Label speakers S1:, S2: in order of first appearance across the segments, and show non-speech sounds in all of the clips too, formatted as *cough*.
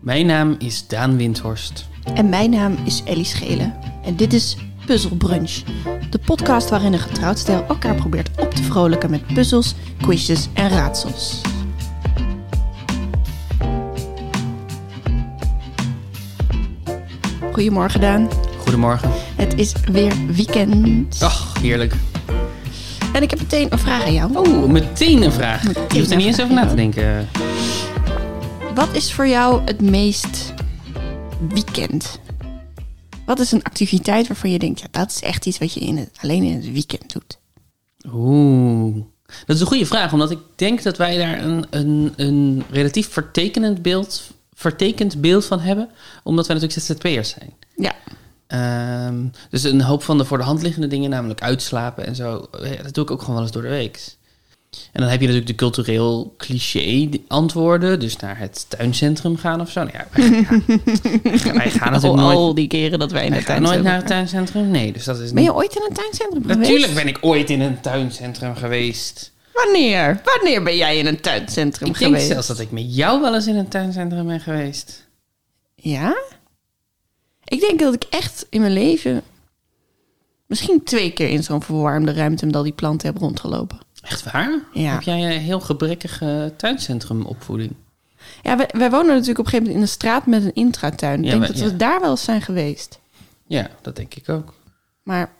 S1: Mijn naam is Daan Windhorst.
S2: En mijn naam is Ellie Schelen. En dit is Puzzle Brunch. De podcast waarin een getrouwd stijl elkaar probeert op te vrolijken met puzzels, quizjes en raadsels. Goedemorgen Daan.
S1: Goedemorgen.
S2: Het is weer weekend.
S1: Ach, heerlijk.
S2: En ik heb meteen een vraag aan jou.
S1: Oh, meteen een vraag.
S2: Meteen
S1: Je hoeft er
S2: een
S1: niet eens
S2: vraag.
S1: over na te denken.
S2: Wat is voor jou het meest weekend? Wat is een activiteit waarvan je denkt, ja, dat is echt iets wat je in het, alleen in het weekend doet?
S1: Oeh. Dat is een goede vraag, omdat ik denk dat wij daar een, een, een relatief vertekenend beeld, vertekend beeld van hebben. Omdat wij natuurlijk ZZP'ers zijn.
S2: Ja,
S1: Ehm, dus een hoop van de voor de hand liggende dingen, namelijk uitslapen en zo, eh, dat doe ik ook gewoon wel eens door de week. En dan heb je natuurlijk de cultureel cliché antwoorden, dus naar het tuincentrum gaan of zo. Nou ja, wij,
S2: *laughs*
S1: ja, wij
S2: Ah,
S1: gaan natuurlijk nooit,
S2: al die keren dat wij in
S1: wij
S2: het
S1: gaan nooit
S2: tuincentrum
S1: naar het tuincentrum. Nee, dus dat is
S2: Ben
S1: niet.
S2: je ooit in een tuincentrum geweest?
S1: Natuurlijk ben ik ooit in een tuincentrum geweest.
S2: Wanneer? Wanneer ben jij in een tuincentrum
S1: Ik denk
S2: geweest?
S1: zelfs dat ik met jou wel eens in een tuincentrum ben geweest.
S2: Ja? Ik denk dat ik echt in mijn leven misschien twee keer in zo'n verwarmde ruimte met al die planten heb rondgelopen.
S1: Echt waar?
S2: Ja.
S1: Heb jij een heel gebrekkige tuincentrumopvoeding?
S2: Ja, wij, wij wonen natuurlijk op een gegeven moment in een straat met een intratuin. Ik
S1: Ja,
S2: denk
S1: maar-
S2: dat
S1: ja.
S2: we daar wel eens zijn geweest.
S1: Ja, dat denk ik ook.
S2: Maar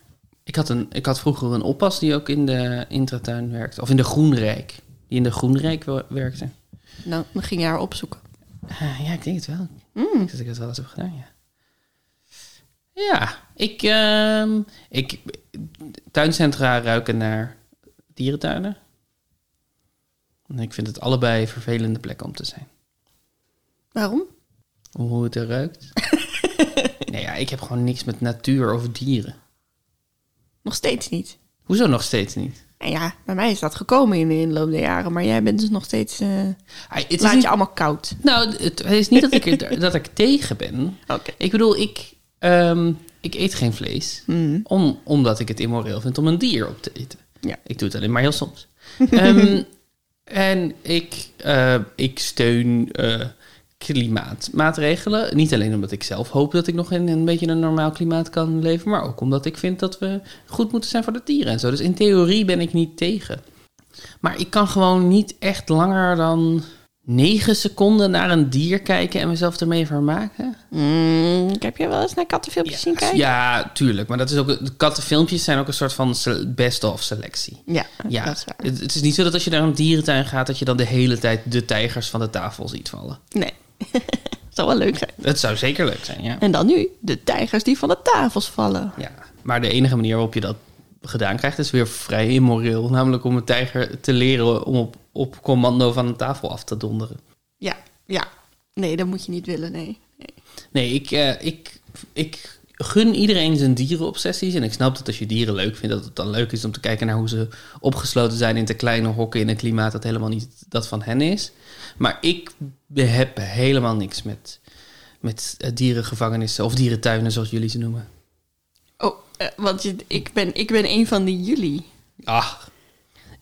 S1: Ik had, een, ik had vroeger een oppas die ook in de intratuin werkte. Of in de Groenrijk. Die in de Groenrijk wo- werkte.
S2: nou, dan ging je haar opzoeken.
S1: Ah, ja, ik denk het wel. Ik denk dat ik dat wel eens heb gedaan, ja. Ja, ik, ehm, ik... Tuincentra ruiken naar dierentuinen. En ik vind het allebei vervelende plekken om te zijn.
S2: Waarom?
S1: Hoe het er ruikt. nee, ja, ik heb gewoon niks met natuur of dieren.
S2: Nog steeds niet.
S1: Hoezo nog steeds niet?
S2: Nou ja, bij mij is dat gekomen in de inloop der jaren. Maar jij bent dus nog steeds... eh,
S1: Ah, het is
S2: laat
S1: niet-
S2: je allemaal koud.
S1: Nou, het is niet dat ik, er, dat ik tegen ben.
S2: Oké.
S1: Ik bedoel, ik, ehm, ik eet geen vlees.
S2: Mm.
S1: Om, omdat ik het immoreel vind om een dier op te eten.
S2: Ja.
S1: Ik doe het alleen maar heel soms. Ehm, en ik, eh, ik steun eh, klimaatmaatregelen. Niet alleen omdat ik zelf hoop dat ik nog in een beetje een normaal klimaat kan leven. Maar ook omdat ik vind dat we goed moeten zijn voor de dieren en zo. Dus in theorie ben ik niet tegen. Maar ik kan gewoon niet echt langer dan negen seconden naar een dier kijken en mezelf ermee vermaken.
S2: Mm, heb jij wel eens naar kattenfilmpjes zien kijken?
S1: Ja, tuurlijk. Maar dat is ook, de kattenfilmpjes zijn ook een soort van se- best-of selectie.
S2: Ja,
S1: Ja,
S2: dat is waar.
S1: Het, het is niet zo dat als je naar een dierentuin gaat, dat je dan de hele tijd de tijgers van de tafel ziet vallen.
S2: Nee. *laughs* Zou wel leuk zijn.
S1: Het zou zeker leuk zijn, ja.
S2: En dan nu de tijgers die van de tafels vallen.
S1: ja. Maar de enige manier waarop je dat gedaan krijgt, is weer vrij immoreel. Namelijk om een tijger te leren om op, op commando van een tafel af te donderen.
S2: Ja, ja. Nee, dat moet je niet willen, nee. nee.
S1: Nee, ik, eh, ik, ik gun iedereen zijn dierenobsessies. En ik snap dat als je dieren leuk vindt, dat het dan leuk is om te kijken naar hoe ze opgesloten zijn in te kleine hokken in een klimaat dat helemaal niet dat van hen is. Maar ik heb helemaal niks met, met eh, dierengevangenissen of dierentuinen, zoals jullie ze noemen.
S2: Oh, eh, want je, ik, ben, ik ben een van die jullie.
S1: Ach, Ah.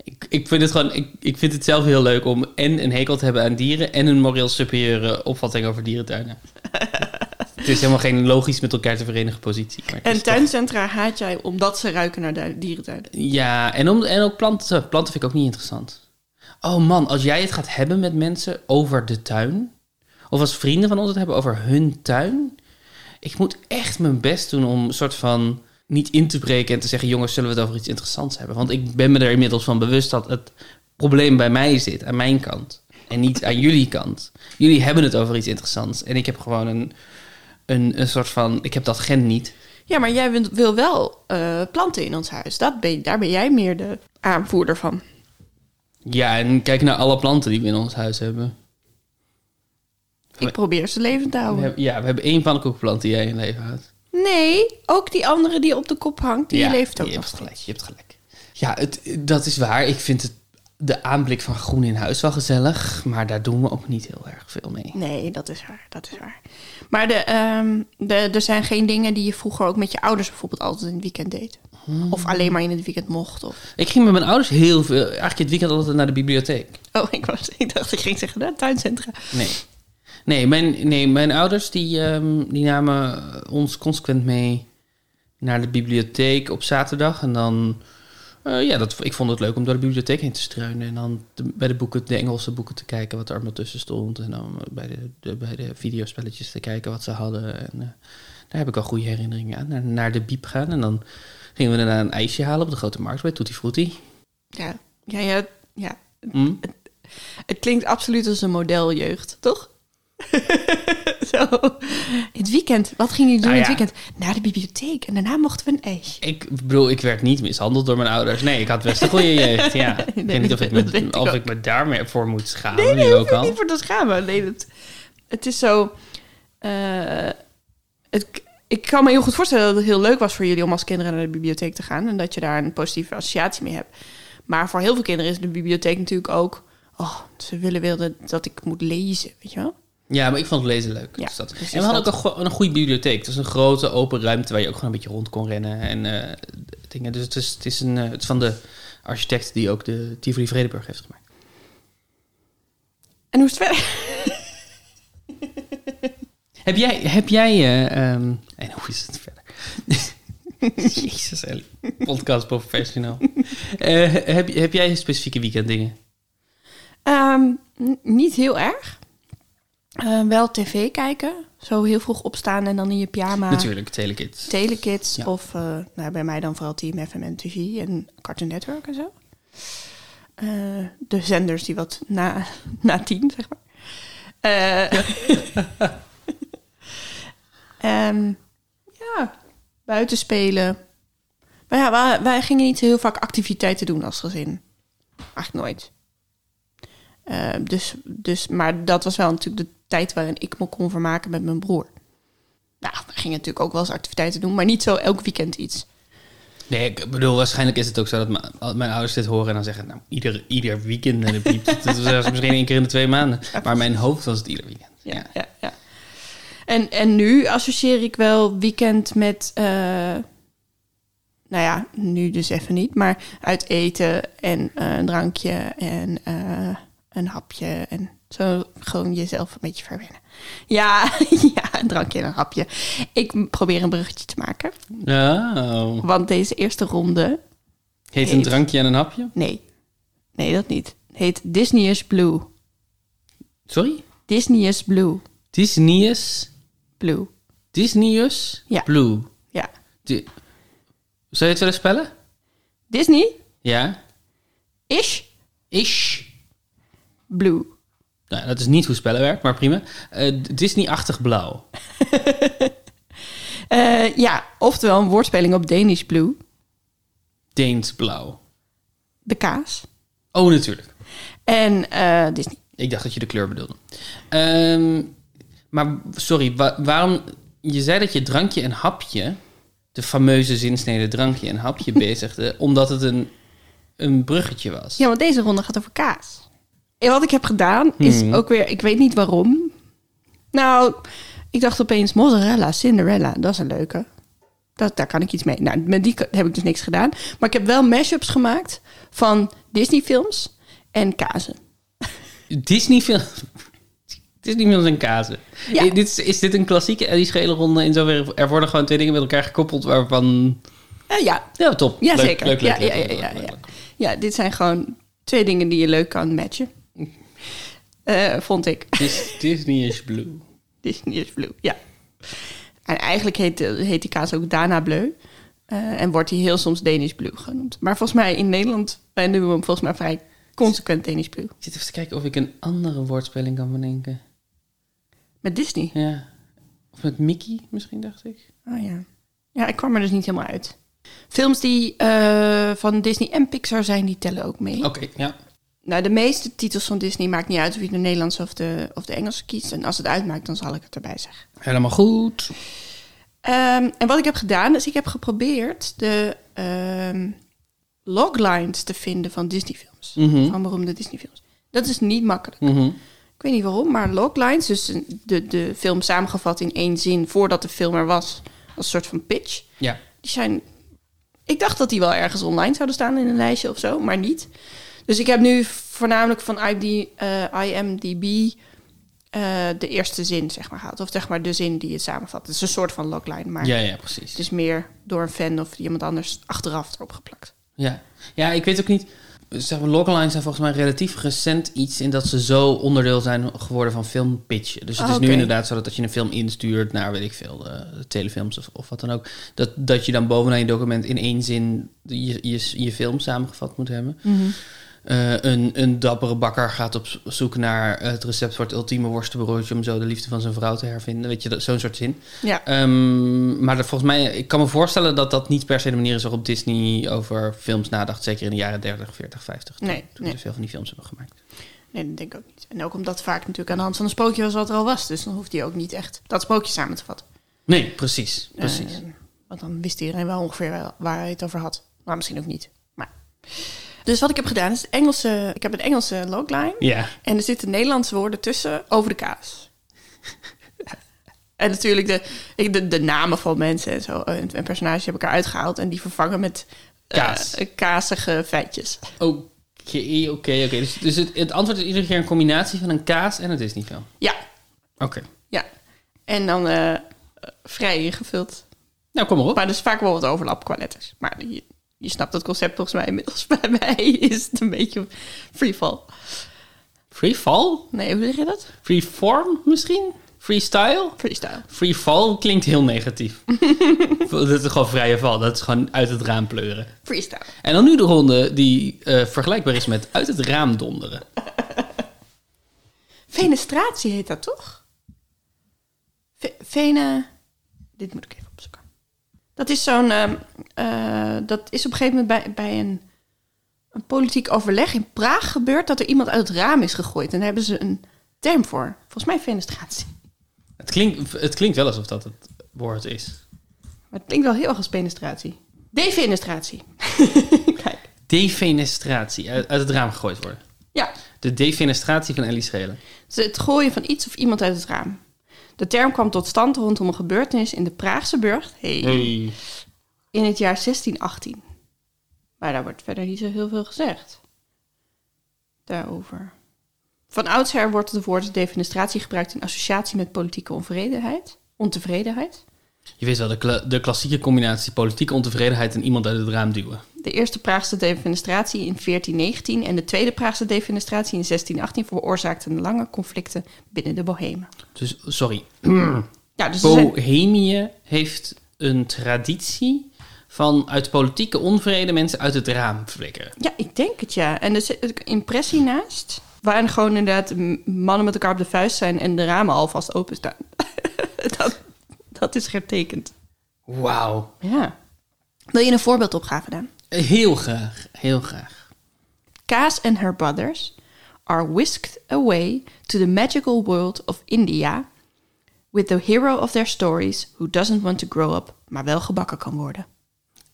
S1: ik, ik vind het gewoon, ik, ik vind het zelf heel leuk om en een hekel te hebben aan dieren en een moreel superieure opvatting over dierentuinen. *laughs* het is helemaal geen logisch met elkaar te verenigen positie. maar het is
S2: En
S1: toch-
S2: tuincentra haat jij omdat ze ruiken naar du- dierentuinen.
S1: Ja, en, om, en ook planten. Planten vind ik ook niet interessant. Oh man, als jij het gaat hebben met mensen over de tuin, of als vrienden van ons het hebben over hun tuin, ik moet echt mijn best doen om een soort van niet in te breken en te zeggen: jongens, zullen we het over iets interessants hebben? Want ik ben me er inmiddels van bewust dat het probleem bij mij zit, aan mijn kant. En niet aan jullie kant. Jullie hebben het over iets interessants. En ik heb gewoon een, een, een soort van. Ik heb dat gen niet.
S2: Ja, maar jij wil- wil wel eh, planten in ons huis. Dat ben, daar ben jij meer de aanvoerder van.
S1: Ja, en kijk naar alle planten die we in ons huis hebben.
S2: Ik probeer ze levend te
S1: We
S2: houden.
S1: hebben- ja, we hebben één pannenkoekplant die jij in leven houdt.
S2: Nee, ook die andere die op de kop hangt, die
S1: ja,
S2: leeft ook
S1: je
S2: nog
S1: hebt
S2: steeds.
S1: gelijk, je hebt gelijk. Ja, het, dat is waar. Ik vind het, de aanblik van groen in huis wel gezellig, maar daar doen we ook niet heel erg veel mee.
S2: Nee, dat is waar, dat is waar. Maar de, ehm, de, er zijn geen dingen die je vroeger ook met je ouders bijvoorbeeld altijd in het weekend deed. Of alleen maar in het weekend mocht. Of...
S1: Ik ging met mijn ouders heel veel, eigenlijk het weekend altijd naar de bibliotheek.
S2: *laughs* Oh, ik, was, ik dacht, ik ging zeggen, nou, tuincentra.
S1: Nee. Nee, mijn, nee, mijn ouders die, ehm, die namen ons consequent mee naar de bibliotheek op zaterdag. En dan, eh, ja, dat, ik vond het leuk om door de bibliotheek heen te struinen. En dan te- bij de, boeken, de Engelse boeken te kijken wat er allemaal tussen stond. En dan bij de, de- bij de videospelletjes te kijken wat ze hadden. En eh, daar heb ik al goede herinneringen aan. Naar, naar de biep gaan en dan gingen we daarna een ijsje halen op de Grote Markt bij Tutti Frutti.
S2: Ja, ja, ja, ja.
S1: Hm?
S2: Het klinkt absoluut als een modeljeugd, toch? *laughs* Zo. Het weekend, wat gingen jullie doen
S1: Nou
S2: het
S1: ja.
S2: weekend? Naar de bibliotheek en daarna mochten we een ijsje.
S1: Ik bedoel, ik werd niet mishandeld door mijn ouders. Nee, ik had best een goede jeugd.
S2: *laughs*
S1: Ja. ik
S2: Nee,
S1: weet niet of ik
S2: dat weet ik
S1: me, of
S2: ook.
S1: ik me daarmee voor moet schamen.
S2: Nee, nee,
S1: nu
S2: hoef
S1: ook
S2: je
S1: al.
S2: niet voor te schamen. Nee, dat, het is zo... eh, het, ik kan me heel goed voorstellen dat het heel leuk was voor jullie... om als kinderen naar de bibliotheek te gaan... en dat je daar een positieve associatie mee hebt. Maar voor heel veel kinderen is de bibliotheek natuurlijk ook... oh, ze willen wel dat ik moet lezen, weet je wel?
S1: Ja, maar ik vond het lezen leuk.
S2: Ja,
S1: dus dat.
S2: precies
S1: En we hadden ook
S2: dat.
S1: een, go- een goede bibliotheek. Het is een grote open ruimte waar je ook gewoon een beetje rond kon rennen en eh, d- dingen. Dus het is, het, is een, eh, het is van de architect die ook de Tivoli Vredeburg heeft gemaakt.
S2: En hoe is het verder? *laughs*
S1: Heb jij, heb jij eh, ehm, en hoe is het verder? *laughs* Jezus, Ellie. Podcast professional. Eh, heb, heb jij specifieke weekenddingen?
S2: Ehm, n- niet heel erg. Eh, wel tv kijken. Zo heel vroeg opstaan en dan in je pyjama.
S1: Natuurlijk, telekids.
S2: Telekids
S1: Ja.
S2: of eh, nou, bij mij dan vooral Team FM en TV en Cartoon Network en zo. Eh, de zenders die wat na, *laughs* na tien, zeg maar. Eh, *laughs* ehm, ja, buiten spelen. Maar ja, wij, wij gingen niet heel vaak activiteiten doen als gezin. Eigenlijk nooit. Eh, dus, dus, maar dat was wel natuurlijk de tijd waarin ik me kon vermaken met mijn broer. Nou, we gingen natuurlijk ook wel eens activiteiten doen, maar niet zo elk weekend iets.
S1: Nee, ik bedoel, waarschijnlijk is het ook zo dat mijn- als mijn ouders dit horen en dan zeggen, nou, ieder, ieder weekend naar de piep. dat was zelfs misschien één keer in de twee maanden. Maar mijn hoofd was het ieder weekend. Ja.
S2: Ja, ja, ja. En, en nu associeer ik wel weekend met, eh, nou ja, nu dus even niet, maar uit eten en eh, een drankje en eh, een hapje en zo gewoon jezelf een beetje verwennen. Ja, *laughs* ja, een drankje en een hapje. Ik probeer een bruggetje te maken,
S1: Nou,
S2: want deze eerste ronde,
S1: heet een
S2: Heet.
S1: drankje en een hapje?
S2: nee, nee dat niet, heet Disney is Blue.
S1: Sorry?
S2: Disney is Blue.
S1: Disney's,
S2: Blue.
S1: Disney's
S2: Ja.
S1: Blue.
S2: Ja.
S1: Di- Zou je het willen spellen?
S2: Disney
S1: Ja.
S2: is
S1: Ish.
S2: blue.
S1: Nou, dat is niet hoe spellen werkt, maar prima. Eh, Disney-achtig blauw.
S2: Eh, ja, oftewel een woordspeling op Danish blue.
S1: Deens blauw.
S2: De kaas.
S1: Oh, natuurlijk.
S2: En eh, Disney.
S1: Ik dacht dat je de kleur bedoelde. Ehm, maar sorry, wa- waarom... Je zei dat je drankje en hapje, de fameuze zinsnede drankje en
S2: *laughs*
S1: hapje, bezigde, omdat het een, een bruggetje was.
S2: Ja, want deze ronde gaat over kaas. En wat ik heb gedaan is ook weer... Ik weet niet waarom. Nou, ik dacht opeens mozzarella, Cinderella. Dat is een leuke. Dat, daar kan ik iets mee. Nou, met die k- heb ik dus niks gedaan. Maar ik heb wel mashups gemaakt van Disney films en kazen.
S1: Disney film. *laughs* Disney films en kazen.
S2: Ja.
S1: I- Dit is, is dit een klassieke Ellie Schelen ronde? In zoverre er worden gewoon twee dingen met elkaar gekoppeld waarvan...
S2: Eh, ja,
S1: Ja, top.
S2: Ja,
S1: Leuk,
S2: zeker.
S1: Leuk, leuk,
S2: ja,
S1: leuk,
S2: ja,
S1: leuk,
S2: ja,
S1: leuk,
S2: ja,
S1: leuk,
S2: ja.
S1: leuk.
S2: ja, dit zijn gewoon twee dingen die je leuk kan matchen.
S1: Mm.
S2: Eh, vond ik. *laughs*
S1: Dis- Disney is blue.
S2: Disney is blue, ja. En eigenlijk heet, heet die kaas ook Dana Bleu. eh, en wordt die heel soms Danish Blue genoemd. Maar volgens mij in Nederland wij noemen we hem volgens mij vrij consequent Danish Blue.
S1: Ik zit even te kijken of ik een andere woordspeling kan bedenken.
S2: Met Disney.
S1: Ja. Of met Mickey misschien, dacht ik.
S2: Oh ja. Ja, ik kwam er dus niet helemaal uit. Films die eh, van Disney en Pixar zijn, die tellen ook mee.
S1: Oké, ja.
S2: Nou, de meeste titels van Disney maakt niet uit of je de Nederlandse of de, of de Engelse kiest. En als het uitmaakt, dan zal ik het erbij zeggen.
S1: Helemaal goed.
S2: Ehm, en wat ik heb gedaan, is ik heb geprobeerd de ehm, loglines te vinden van Disney-films. Van beroemde Disney-films. Dat is niet makkelijk.
S1: Mhm.
S2: Ik weet niet waarom, maar loglines, dus een- de, de film samengevat in één zin voordat de film er was, als een soort van pitch.
S1: Ja.
S2: Die zijn. Ik dacht dat die wel ergens online zouden staan in een lijstje of zo, maar niet. Dus ik heb nu voornamelijk van IMD, eh, IMDb eh, de eerste zin, zeg maar, haalt. Of zeg maar de zin die het samenvat. Het is een soort van logline, maar
S1: Ja, ja, precies.
S2: het is meer door een fan of iemand anders achteraf erop geplakt.
S1: Ja. ja, ik weet ook niet. Zeg maar, loglines zijn volgens mij relatief recent iets in dat ze zo onderdeel zijn geworden van filmpitchen. Dus het
S2: Ah,
S1: is nu
S2: oké.
S1: inderdaad zo dat als je een film instuurt naar, weet ik veel, eh, telefilms of, of wat dan ook, dat, dat je dan bovenaan je document in één zin je, je, je film samengevat moet hebben.
S2: Mhm.
S1: Eh, een, een dappere bakker gaat op z- zoek naar het recept voor het ultieme worstenbroodje om zo de liefde van zijn vrouw te hervinden. Weet je, dat- zo'n soort zin.
S2: Ja,
S1: Ehm, maar dat volgens mij, ik kan me voorstellen dat dat niet per se de manier is waarop Disney over films nadacht. Zeker in de jaren 30, 40, 50. Toen,
S2: Nee,
S1: toen
S2: nee.
S1: ze veel van die films hebben gemaakt.
S2: nee, dat denk ik ook niet. En ook omdat het vaak natuurlijk aan de hand van een sprookje was wat er al was. Dus dan hoeft hij ook niet echt dat sprookje samen te vatten.
S1: Nee, precies. precies.
S2: Eh, want dan wist iedereen wel ongeveer wel waar hij het over had. Maar misschien ook niet. Maar. Dus wat ik heb gedaan is het Engelse. Ik heb een Engelse logline.
S1: ja.
S2: En er zitten Nederlandse woorden tussen over de kaas. *laughs* en natuurlijk de, ik- de, de namen van mensen en zo. En, en personages heb ik eruit gehaald. En die vervangen met eh,
S1: Kaas.
S2: kazige feitjes.
S1: Oké, oké, oké. Dus, dus het, het antwoord is iedere keer een combinatie van een kaas en een Disney-film.
S2: Ja,
S1: Oké.
S2: ja. En dan eh, vrij ingevuld.
S1: Nou, kom maar op.
S2: Maar er is vaak wel wat overlap qua letters. Maar je, je snapt het concept volgens mij inmiddels. *laughs* Bij mij is het een beetje freefall.
S1: Free fall?
S2: Nee, hoe zeg je dat?
S1: Free form misschien? Freestyle?
S2: Freestyle.
S1: Free fall klinkt heel
S2: *laughs*
S1: negatief. dat is gewoon vrije val. Dat is gewoon uit het raam pleuren.
S2: Freestyle.
S1: En dan nu de ronde die eh, vergelijkbaar is met uit het raam donderen.
S2: Fenestratie heet dat toch? Ve vene. Dit moet ik even opzoeken. Dat is zo'n. ehm, eh, dat is op een gegeven moment bij, bij een, een politiek overleg in Praag gebeurd dat er iemand uit het raam is gegooid. En daar hebben ze een term voor. Volgens mij fenestratie.
S1: Het klinkt, het klinkt wel alsof dat het woord is.
S2: Maar het klinkt wel heel erg als penestratie. Defenestratie. *laughs* Kijk.
S1: Defenestratie. Uit, uit het raam gegooid worden.
S2: Ja,
S1: De defenestratie van Ellie Schelen.
S2: Dus het gooien van iets of iemand uit het raam. De term kwam tot stand rondom een gebeurtenis in de Praagse burcht. hey. in het jaar 1618. Maar daar wordt verder niet zo heel veel gezegd. Daarover. Van oudsher wordt het woord defenestratie gebruikt in associatie met politieke onvredenheid, ontevredenheid.
S1: Je weet wel, de, kla- de klassieke combinatie politieke ontevredenheid en iemand uit het raam duwen.
S2: De eerste Praagse defenestratie in 1419 en de tweede Praagse defenestratie in 1618 veroorzaakten lange conflicten binnen de Bohemen.
S1: Dus, sorry.
S2: Ja, dus er zijn-
S1: Bohemië heeft een traditie van uit politieke onvrede mensen uit het raam flikkeren.
S2: Ja, ik denk het ja. En er zit een impressie naast. Waarin gewoon inderdaad m- mannen met elkaar op de vuist zijn en de ramen alvast openstaan. *laughs* dat, dat is getekend.
S1: Wauw.
S2: Ja. Wil je een voorbeeldopgave dan?
S1: Heel graag. Heel graag.
S2: Kaas and her brothers are whisked away to the magical world of India with the hero of their stories who doesn't want to grow up, maar wel gebakken kan worden.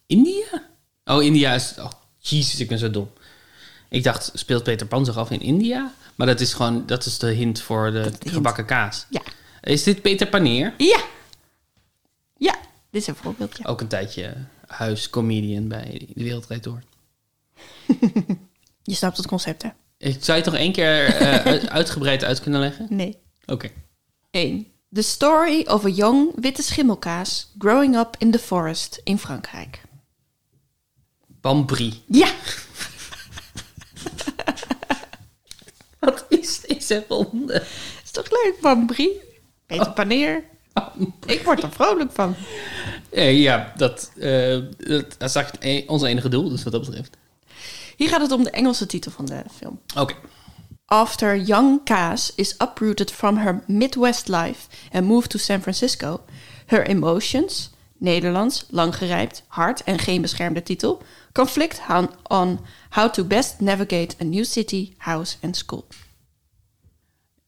S1: India? Oh, India is... Oh, jezus, ik ben zo dom. Ik dacht, speelt Peter Pan zich af in India? Maar dat is gewoon... Dat is de hint voor de
S2: is de hint.
S1: gebakken kaas.
S2: Ja.
S1: Is dit Peter Paneer?
S2: Ja. Ja, dit is een voorbeeldje.
S1: Ook een tijdje huiscomedian bij De Wereldrijd Door.
S2: Je snapt het concept hè?
S1: Ik zou je toch één keer *laughs* eh, uit- uitgebreid uit kunnen leggen?
S2: Nee.
S1: Oké.
S2: 1. The Story of a Young Witte Schimmelkaas Growing Up in the Forest in Frankrijk.
S1: Bambri.
S2: Ja!
S1: Wat is deze ronde?
S2: Is toch leuk, Bambri? Peter Paneer. Ik word er vrolijk van.
S1: Eh, ja, dat, eh, dat is eigenlijk e- ons enige doel, dus wat dat betreft.
S2: Hier gaat het om de Engelse titel van de film.
S1: Oké.
S2: After young Cass is uprooted from her Midwest life and moved to San Francisco, her emotions, Nederlands, langgerijpt, hard en geen beschermde titel, conflict on, on how to best navigate a new city, house and school.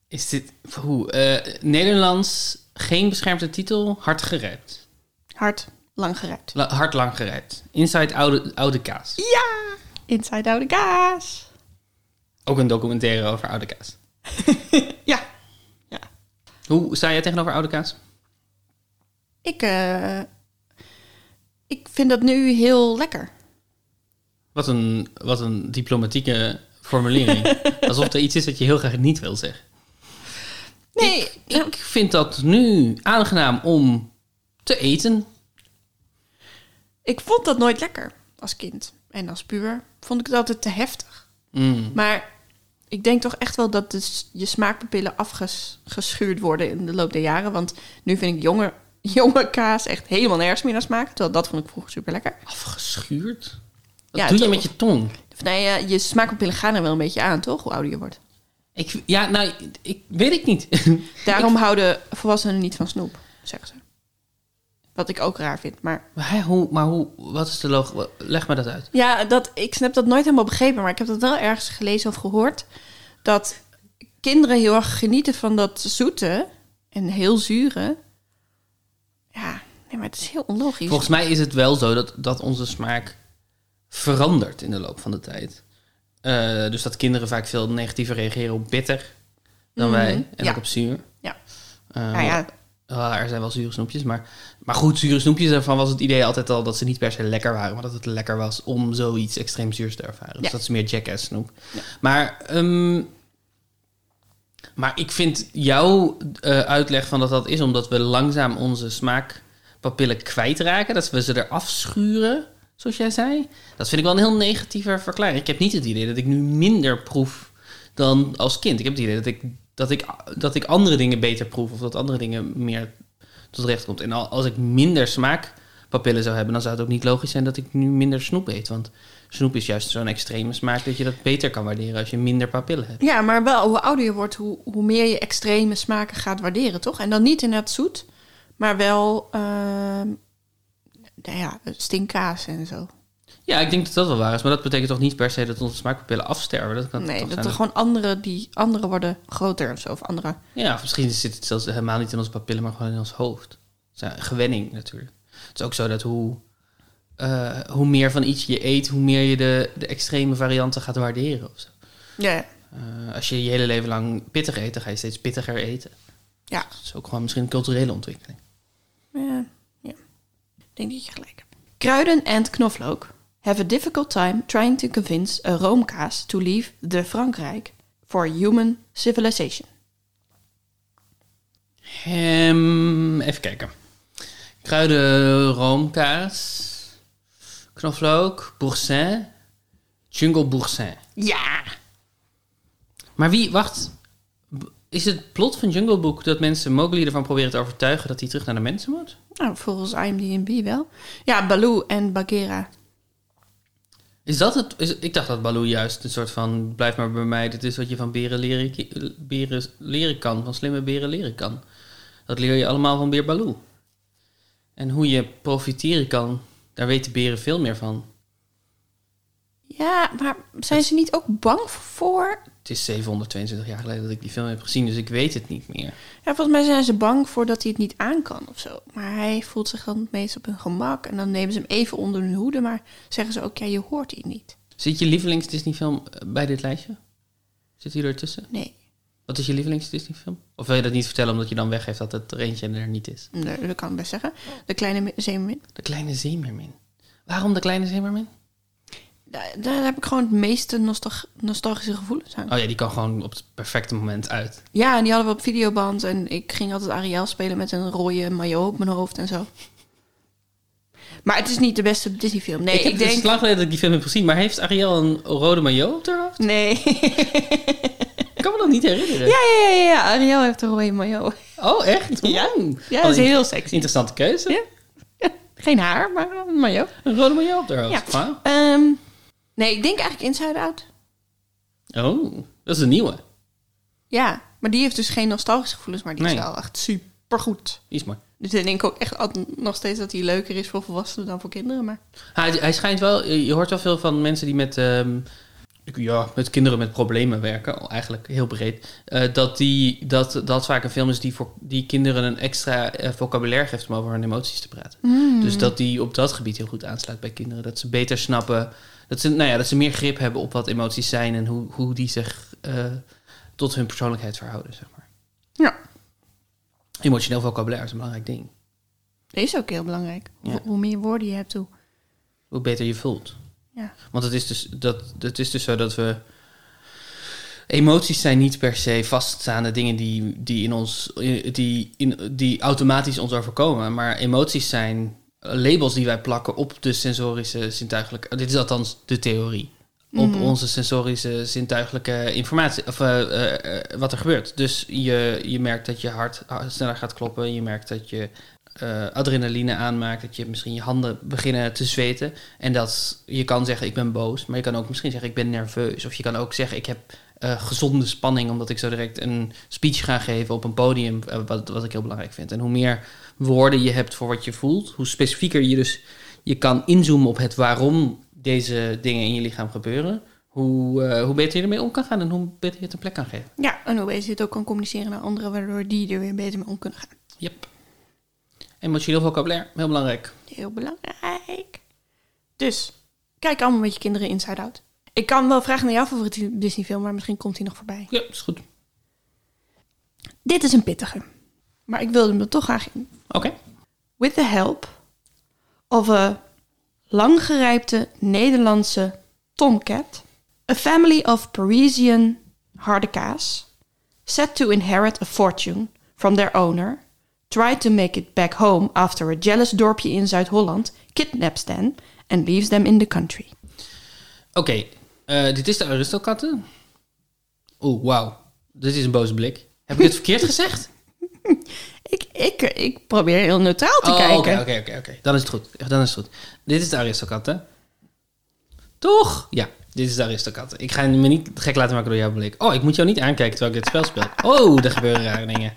S1: Is dit... Hoe? eh, Nederlands, geen beschermde titel, hard gerijpt.
S2: Hard, langgerijpt.
S1: La- hard lang gerijpt. Inside oude, oude kaas.
S2: Ja! Inside Out the Gas.
S1: Ook een documentaire over oude kaas.
S2: Ja. ja.
S1: Hoe sta jij tegenover oude kaas?
S2: Ik, eh, ik vind dat nu heel lekker.
S1: Wat een, wat een
S2: *laughs*
S1: diplomatieke formulering. Alsof er iets is wat je heel graag niet wil zeggen.
S2: Nee, ja.
S1: Ik vind dat nu aangenaam om te eten.
S2: ik vond dat nooit lekker als kind. En als puber vond ik het altijd te heftig.
S1: Mm.
S2: Maar ik denk toch echt wel dat de s- je smaakpapillen afgeschuurd worden in de loop der jaren. Want nu vind ik jonge, *laughs* jonge kaas echt helemaal nergens meer naar smaak. Terwijl dat vond ik vroeger super lekker.
S1: Afgeschuurd? Wat
S2: Ja,
S1: doe je
S2: toch?
S1: met je tong?
S2: Nee, eh, je smaakpapillen gaan er wel een beetje aan, toch? Hoe ouder je wordt.
S1: Ik, ja, nou, ik, weet ik niet. *laughs*
S2: Daarom houden volwassenen niet van snoep, zeggen ze. Wat ik ook raar vind. Maar
S1: maar hè, hoe, maar hoe, wat is de log? Leg me dat uit.
S2: ja, dat, ik heb dat nooit helemaal begrepen. Maar ik heb dat wel ergens gelezen of gehoord. Dat kinderen heel erg genieten van dat zoete en heel zure. Ja, nee, maar het is heel onlogisch.
S1: Volgens mij is het wel zo dat, dat onze smaak verandert in de loop van de tijd. Eh, dus dat kinderen vaak veel negatiever reageren op bitter dan wij. En
S2: Mhm. ja.
S1: ook op zuur.
S2: Ja.
S1: Eh,
S2: nou ja,
S1: Ah, er zijn wel zure snoepjes, maar, maar goed, zure snoepjes, daarvan was het idee altijd al dat ze niet per se lekker waren, maar dat het lekker was om zoiets extreem zuurs te ervaren. Dus
S2: Ja.
S1: dat is meer jackass snoep.
S2: Ja.
S1: Maar, ehm, maar ik vind jouw eh, uitleg van dat dat is omdat we langzaam onze smaakpapillen kwijtraken, dat we ze eraf schuren, zoals jij zei. Dat vind ik wel een heel negatieve verklaring. Ik heb niet het idee dat ik nu minder proef dan als kind. Ik heb het idee dat ik, dat ik, dat ik andere dingen beter proef of dat andere dingen meer tot recht komt. En al, als ik minder smaakpapillen zou hebben, dan zou het ook niet logisch zijn dat ik nu minder snoep eet. Want snoep is juist zo'n extreme smaak dat je dat beter kan waarderen als je minder papillen hebt.
S2: ja, maar wel hoe ouder je wordt, hoe, hoe meer je extreme smaken gaat waarderen, toch? En dan niet inderdaad zoet, maar wel ehm nou ja, stinkkaas en zo.
S1: Ja, ik denk dat dat wel waar is. Maar dat betekent toch niet per se dat onze smaakpapillen afsterven. Dat kan
S2: nee,
S1: toch
S2: dat
S1: zijn
S2: er gewoon andere, die, andere worden groter of zo. Of andere.
S1: Ja, of misschien zit het zelfs helemaal niet in onze papillen, maar gewoon in ons hoofd. Het is een gewenning natuurlijk. Het is ook zo dat hoe, eh, hoe meer van iets je eet, hoe meer je de, de extreme varianten gaat waarderen. Of zo.
S2: Ja,
S1: Eh, als je je hele leven lang pittig eet, dan ga je steeds pittiger eten.
S2: ja.
S1: Dat is ook gewoon misschien een culturele ontwikkeling.
S2: ja, Eh, ja. Ik denk dat je gelijk hebt. Kruiden en knoflook have a difficult time trying to convince a roomkaas to leave the Frankrijk for human civilization.
S1: Ehm, even kijken. Kruiden, roomkaas, knoflook, boursin, jungle boursin.
S2: Ja!
S1: Maar wie, wacht. B- Is het plot van Jungle Book dat mensen Mowgli ervan proberen te overtuigen dat hij terug naar de mensen moet?
S2: Nou, volgens IMDb wel. Ja, Baloo en Bagheera.
S1: Is dat het? Is, ik dacht dat Baloo juist een soort van blijf maar bij mij. Dit is wat je van beren leren, ki- beren leren kan, van slimme beren leren kan. Dat leer je allemaal van beer Baloo. En hoe je profiteren kan, daar weten beren veel meer van.
S2: Ja, maar zijn ze niet ook bang voor?
S1: Het is 722 jaar geleden dat ik die film heb gezien, dus ik weet het niet meer.
S2: Ja, volgens mij zijn ze bang voor dat hij het niet aan kan of zo. Maar hij voelt zich dan het meest op hun gemak. En dan nemen ze hem even onder hun hoede. Maar zeggen ze ook, ja, je hoort hij niet.
S1: Zit je lievelings Disney-film eh, bij dit lijstje? Zit hij ertussen?
S2: Nee,
S1: Wat is je lievelings Disney film? Of wil je dat niet vertellen omdat je dan weggeeft dat het er eentje er niet is?
S2: nee dat kan ik best zeggen. De kleine me- zeemermin.
S1: De Kleine Zeemermin. Waarom De Kleine Zeemermin?
S2: Daar, daar heb ik gewoon het meeste nostal- nostalgische gevoelens aan.
S1: Oh ja, die kan gewoon op het perfecte moment uit.
S2: Ja, en die hadden we op videoband. En ik ging altijd Ariel spelen met een rode maillot op mijn hoofd en zo. Maar het is niet de beste Disney film. Nee,
S1: ik
S2: ik,
S1: heb het
S2: denk...
S1: is lang geleden dat ik die film heb gezien, maar heeft Ariel een rode maillot op haar hoofd? *laughs*
S2: Nee.
S1: Ik kan me dat niet herinneren.
S2: ja, ja, ja, ja, ja. Ariel heeft een rode maillot.
S1: Oh, echt?
S2: Ja.
S1: Oeh.
S2: Ja,
S1: Wat
S2: dat is
S1: een
S2: heel sexy.
S1: Interessante keuze.
S2: Ja. Geen haar, maar een maillot.
S1: Een rode maillot op haar
S2: Ja.
S1: hoofd. Wauw.
S2: Ehm, nee, ik denk eigenlijk Inside Out.
S1: Oh, dat is een nieuwe.
S2: Ja, maar die heeft dus geen nostalgische gevoelens, maar die
S1: Nee.
S2: is wel echt supergoed.
S1: Die is mooi.
S2: Dus ik denk ook echt altijd nog steeds dat hij leuker is voor volwassenen dan voor kinderen. Maar
S1: Ah, Hij, hij schijnt wel, je hoort wel veel van mensen die met, ehm, ik- ja, met kinderen met problemen werken, al eigenlijk heel breed, eh, dat, die, dat dat vaak een film is die voor die kinderen een extra eh, vocabulaire geeft om over hun emoties te praten. Dus dat die op dat gebied heel goed aansluit bij kinderen. Dat ze beter snappen, dat ze, nou ja, dat ze meer grip hebben op wat emoties zijn en hoe, hoe die zich eh, tot hun persoonlijkheid verhouden, zeg maar.
S2: ja,
S1: Emotioneel vocabulaire is een belangrijk ding.
S2: dat is ook heel belangrijk.
S1: Ja.
S2: Hoe- Hoe meer woorden je hebt, hoe...
S1: Hoe beter je voelt.
S2: Ja.
S1: Want het is dus, dat, het is dus zo dat we emoties zijn niet per se vaststaande dingen die, die, in ons, die, in, die automatisch ons overkomen. Maar emoties zijn labels die wij plakken op de sensorische zintuigelijke... Dit is althans de theorie. Op onze sensorische zintuigelijke informatie. Of eh, eh, eh, wat er gebeurt. Dus je, je merkt dat je hart ah, sneller gaat kloppen. Je merkt dat je eh, adrenaline aanmaakt. Dat je misschien je handen beginnen te zweten. En dat je kan zeggen ik ben boos. Maar je kan ook misschien zeggen ik ben nerveus. Of je kan ook zeggen ik heb eh, gezonde spanning. Omdat ik zo direct een speech ga geven op een podium. eh, wat, wat ik heel belangrijk vind. En hoe meer woorden je hebt voor wat je voelt. Hoe specifieker je dus je kan inzoomen op het waarom deze dingen in je lichaam gebeuren. Hoe, eh, hoe beter je ermee om kan gaan en hoe beter je het een plek kan geven.
S2: Ja, en hoe beter je het ook kan communiceren naar anderen, waardoor die er weer beter mee om kunnen gaan.
S1: Yep. Emotioneel vocabulaire, heel belangrijk.
S2: Heel belangrijk. Dus, kijk allemaal met je kinderen Inside Out. Ik kan wel vragen naar jouw favoriete Disney-film, maar misschien komt hij nog voorbij.
S1: Ja, is goed.
S2: Dit is een pittige, maar ik wilde hem er toch graag in.
S1: Oké.
S2: With the help of a langgerijpte Nederlandse tomcat, a family of Parisian hardecaas, set to inherit a fortune from their owner, try to make it back home after a jealous dorpje in Zuid-Holland kidnaps them and leaves them in the country.
S1: Oké, eh, dit is de Aristokatten. Oeh, wauw. Dit is een boze blik. Heb ik het verkeerd
S2: *laughs*
S1: gezegd?
S2: Ik, ik, ik probeer heel neutraal te
S1: Oh,
S2: kijken.
S1: Oké, oké, oké, oké. Dan is het goed. Dan is het goed. Dit is de Aristokatten. Toch? Ja, dit is de Aristokatten. Ik ga me niet gek laten maken door jouw blik. Oh, ik moet jou niet aankijken terwijl ik dit spel speel.
S2: *laughs*
S1: Oh, er gebeuren rare dingen.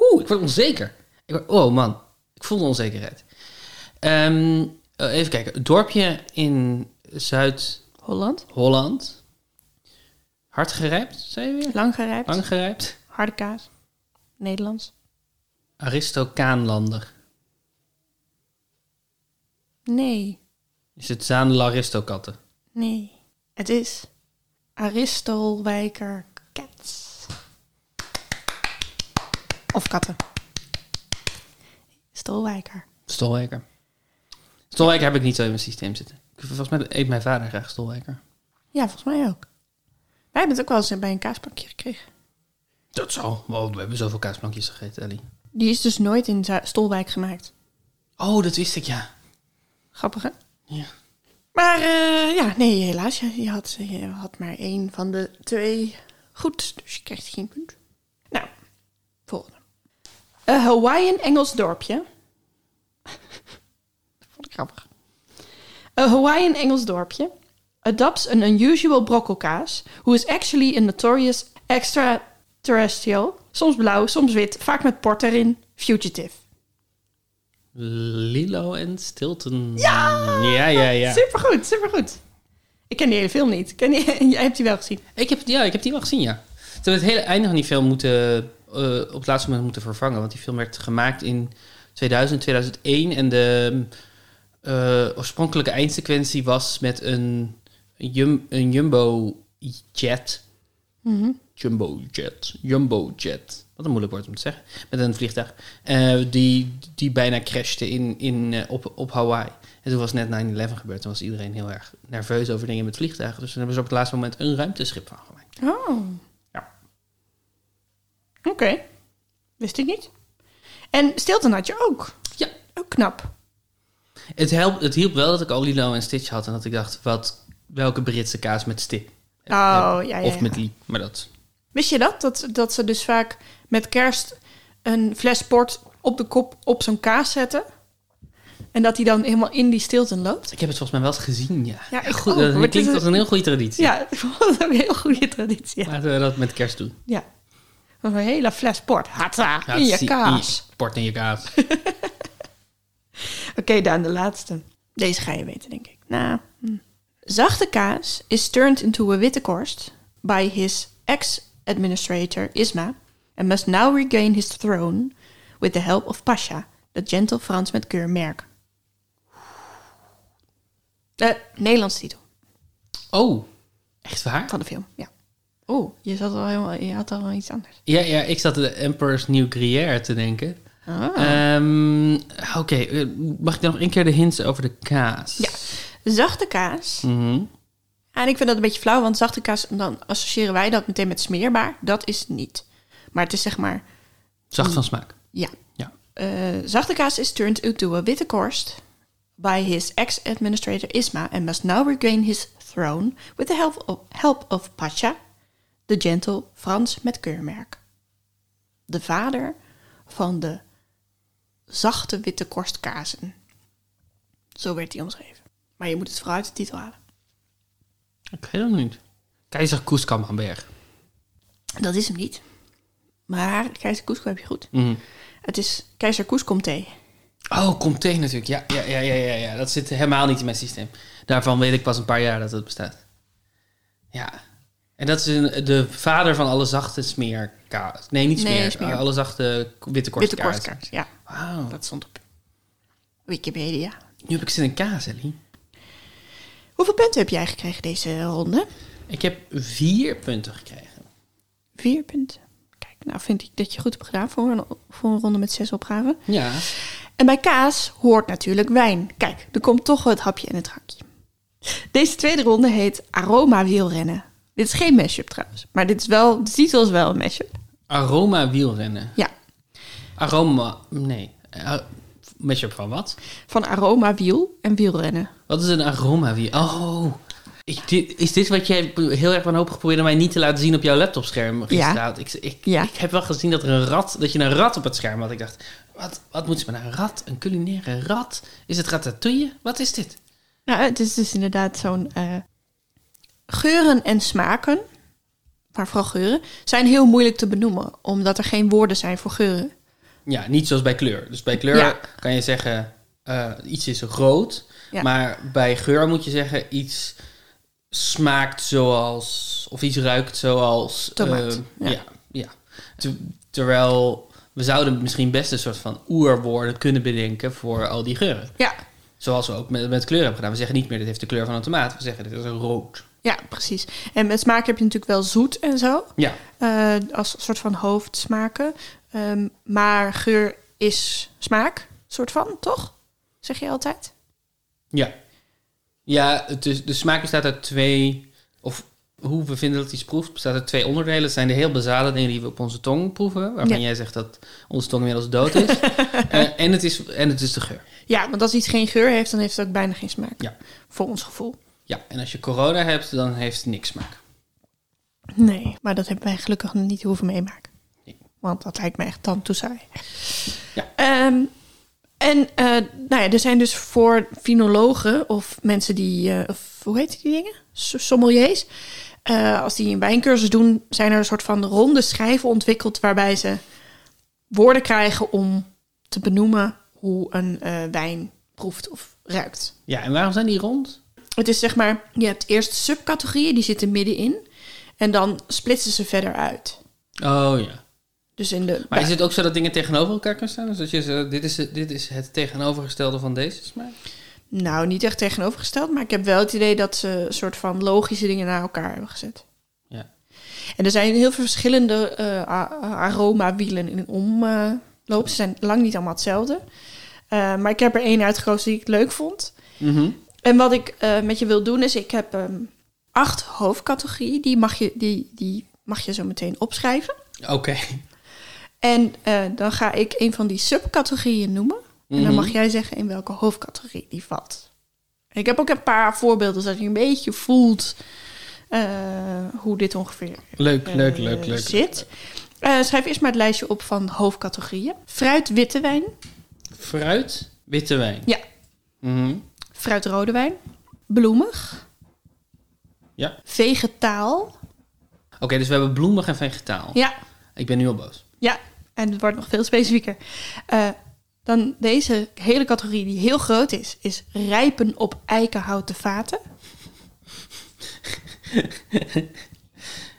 S1: Oeh, ik word onzeker. Ik word- oh man, ik voel de onzekerheid. Ehm, eh, even kijken. Het dorpje in Zuid-Holland.
S2: Holland,
S1: Hard gerijpt, zei je weer?
S2: langgerijpt,
S1: Lang gerijpt.
S2: hardecaas, Nederlands,
S1: Aristokaanlander.
S2: nee.
S1: Is het Zaandel Aristokatten?
S2: Nee, het is Aristelwijker Cats. Of katten. Stolwijker.
S1: Stolwijker. Stolwijker heb ik niet zo in mijn systeem zitten. Ik- Volgens mij eet mijn vader graag stolwijker.
S2: Ja, volgens mij ook. Wij hebben het ook wel eens bij een kaaspakje gekregen.
S1: Dat zal. Wow, we hebben zoveel kaasplankjes gegeten, Ellie.
S2: Die is dus nooit in Zu- Stolwijk gemaakt.
S1: Oh, dat wist ik, ja.
S2: Grappig, hè?
S1: Ja.
S2: Maar eh, ja, nee, helaas. Je, je had, eh, je had maar één van de twee goed, dus je krijgt geen punt. Nou, volgende. Een Hawaiian Engels dorpje. *laughs* Dat vond ik grappig. A Hawaiian Engels dorpje adopts an unusual brokkelkaas who is actually a notorious extraterrestrial, soms blauw, soms wit, vaak met port erin, fugitive.
S1: Lilo en Stilton. Ja! Ja, ja,
S2: Supergoed, supergoed. Ik ken die hele film niet. Ik Ken die, *laughs* jij hebt die wel gezien.
S1: Ik heb, ja, ik heb die wel gezien, ja. Ze hebben het hele einde van die film moeten, eh, op het laatste moment moeten vervangen. Want die film werd gemaakt in 2000, 2001. En de eh, oorspronkelijke eindsequentie was met een, jum, een jumbo jet. Jumbo jet. Jumbo jet. Wat een moeilijk woord om te zeggen. Met een vliegtuig. eh, die, die bijna crashte in, in, eh, op, op Hawaii. En toen was net 9-11 gebeurd. Toen was iedereen heel erg nerveus over dingen met vliegtuigen. Dus toen hebben ze op het laatste moment een ruimteschip van gemaakt.
S2: Oh.
S1: Ja.
S2: Oké. Wist ik niet. En Stilton had je ook.
S1: Ja.
S2: Ook knap.
S1: Het, helpt, het hielp wel dat ik al Lilo en Stitch had. En dat ik dacht, wat, welke Britse kaas met stip? Eh,
S2: Oh, ja, ja,
S1: Of
S2: ja.
S1: met Lee. Maar dat...
S2: Wist je dat? dat? Dat ze dus vaak met kerst een fles port op de kop op zo'n kaas zetten. En dat die dan helemaal in die Stilton loopt.
S1: Ik heb het volgens mij wel eens gezien, ja.
S2: Ja, ik
S1: Goed,
S2: ook, maar
S1: dat
S2: het
S1: klinkt
S2: is-
S1: als een heel goede traditie.
S2: Ja, *laughs* ik vond dat ook een heel goede traditie. Ja.
S1: Laten we dat met kerst doen.
S2: ja. Een hele fles port. Hatta, in je
S1: zie-
S2: kaas.
S1: in je- Port in je kaas.
S2: Oké, Daan, de laatste. Deze ga je weten, denk ik. Nou, hm. Zachte kaas is turned into a witte korst by his ex-administrator Isma and must now regain his throne with the help of Pasha, the gentle Frans met keurmerk. De Nederlandse Eh, titel
S1: Oh, echt waar?
S2: van de film, ja. Oeh, je, zat al helemaal, je had al iets anders.
S1: Ja, ja, ik zat de Emperor's New Gruyère te denken.
S2: Ah.
S1: Ehm, Oké, eh, mag ik dan nog een keer de hints over de kaas?
S2: Ja. Zachte kaas
S1: Mhm.
S2: En ik vind dat een beetje flauw, want zachte kaas, dan associëren wij dat meteen met smeerbaar. Dat is niet. Maar het is zeg maar,
S1: Zacht van smaak.
S2: ja.
S1: Ja.
S2: Eh, zachte kaas is turned into a witte korst by his ex-administrator Isma and must now regain his throne with the help of, help of Pacha, de gentle Frans met keurmerk. De vader van de zachte witte korstkazen. Zo werd hij omschreven. Maar je moet het vooruit de titel halen.
S1: Ik weet het niet. Keizer Koeskammerberg.
S2: Dat is hem niet. Maar keizer Cusco heb je goed. Het is keizer Cusco thee.
S1: Oh, Comté natuurlijk. Ja, ja, ja, ja, ja, ja. Dat zit helemaal niet in mijn systeem. Daarvan weet ik pas een paar jaar dat het bestaat. Ja. En dat is een, de vader van alle zachte smeerkaas. Nee, niet
S2: Nee,
S1: smeer. eh,
S2: smeer.
S1: Alle zachte k- witte
S2: Witte
S1: korstkaas.
S2: korstkaas, ja.
S1: Wauw.
S2: Dat stond op Wikipedia.
S1: Nu heb ik zin in kaas, Ellie.
S2: Hoeveel punten heb jij gekregen deze ronde?
S1: Ik heb vier punten gekregen.
S2: Vier punten. Kijk, nou vind ik dat je goed hebt gedaan voor een, voor een ronde met zes opgaven.
S1: Ja.
S2: En bij kaas hoort natuurlijk wijn. Kijk, er komt toch het hapje en het drankje. Deze tweede ronde heet Aroma wielrennen. Dit is geen mashup trouwens, maar dit is wel, de titel is wel een mashup.
S1: Aroma wielrennen.
S2: Ja,
S1: Aroma... Nee. Uh, Mashup van wat?
S2: van aroma wiel en wielrennen.
S1: Wat is een aroma wiel? Oh. Ik, dit, is dit wat jij heel erg wanhopig probeerde mij niet te laten zien op jouw laptopscherm gisteravond? Ik, ik,
S2: Ja.
S1: ik heb wel gezien dat, er een rat, dat je een rat op het scherm had. Ik dacht, wat, wat moet ze met een rat? Een culinaire rat? Is het ratatouille? Wat is dit?
S2: Nou, het is dus inderdaad zo'n eh, geuren en smaken, maar vooral geuren, zijn heel moeilijk te benoemen, omdat er geen woorden zijn voor geuren.
S1: Ja, niet zoals bij kleur. Dus bij kleur
S2: Ja.
S1: kan je zeggen, eh, iets is rood.
S2: Ja.
S1: Maar bij geur moet je zeggen, iets smaakt zoals... Of iets ruikt zoals...
S2: Tomaat,
S1: eh,
S2: ja.
S1: ja. ja. Te- terwijl we zouden misschien best een soort van oerwoorden kunnen bedenken voor al die geuren.
S2: Ja,
S1: Zoals we ook met, met kleur hebben gedaan. We zeggen niet meer, dit heeft de kleur van een tomaat. We zeggen, dit is rood.
S2: ja, precies. En met smaak heb je natuurlijk wel zoet en zo,
S1: Ja,
S2: eh, als een soort van hoofdsmaken. Ehm, maar geur is smaak, soort van, toch? Zeg je altijd?
S1: ja. Ja, het is, de smaak bestaat uit twee... Of hoe we vinden dat iets proeft, bestaat uit twee onderdelen. Het zijn de heel basale dingen die we op onze tong proeven. Waarvan
S2: Ja.
S1: jij zegt dat onze tong inmiddels dood
S2: *laughs*
S1: is. Eh, en, het is en het is de geur.
S2: Ja, want als iets geen geur heeft, dan heeft het ook bijna geen smaak.
S1: Ja.
S2: Voor ons gevoel.
S1: Ja, en als je corona hebt, dan heeft het niks smaak.
S2: Nee, maar dat hebben wij gelukkig nog niet hoeven meemaken.
S1: Nee.
S2: Want dat lijkt me echt dan toe saai.
S1: Ja.
S2: Ehm, en eh, nou ja, er zijn dus voor finologen of mensen die, eh, of hoe heet die dingen? S- Sommeliers. Eh, als die een wijncursus doen, zijn er een soort van ronde schijven ontwikkeld waarbij ze woorden krijgen om te benoemen hoe een eh, wijn proeft of ruikt.
S1: Ja, en waarom zijn die rond?
S2: Het is zeg maar, je hebt eerst subcategorieën, die zitten middenin. En dan splitsen ze verder uit.
S1: Oh ja.
S2: Dus in de.
S1: Maar is het ook zo dat dingen tegenover elkaar kunnen staan? Dus dat je zegt, dit is, het- dit is het tegenovergestelde van deze smaak?
S2: Nou, niet echt tegenovergesteld, maar ik heb wel het idee dat ze een soort van logische dingen naar elkaar hebben gezet.
S1: Ja.
S2: En er zijn heel veel verschillende eh, a- aromawielen in omloop. Ze zijn lang niet allemaal hetzelfde. Eh, maar ik heb er één uitgekozen die ik leuk vond.
S1: Mhm.
S2: En wat ik eh, met je wil doen is, ik heb ehm, acht hoofdcategorieën. Die mag, je, die, die mag je zo meteen opschrijven.
S1: Oké.
S2: En eh, dan ga ik een van die subcategorieën noemen. En
S1: Mhm.
S2: dan mag jij zeggen in welke hoofdcategorie die valt. En ik heb ook een paar voorbeelden, zodat je een beetje voelt eh, hoe dit ongeveer
S1: Leuk,
S2: eh,
S1: leuk, leuk, leuk.
S2: zit. Eh, schrijf eerst maar het lijstje op van hoofdcategorieën. Fruit witte wijn,
S1: Fruit, witte wijn.
S2: Ja.
S1: Mhm.
S2: fruit rode wijn, bloemig,
S1: Ja.
S2: vegetaal.
S1: Oké, dus we hebben bloemig en vegetaal.
S2: Ja,
S1: Ik ben nu al boos.
S2: Ja, en het wordt nog veel specifieker. Eh, dan deze hele categorie die heel groot is, is rijpen op eikenhouten vaten.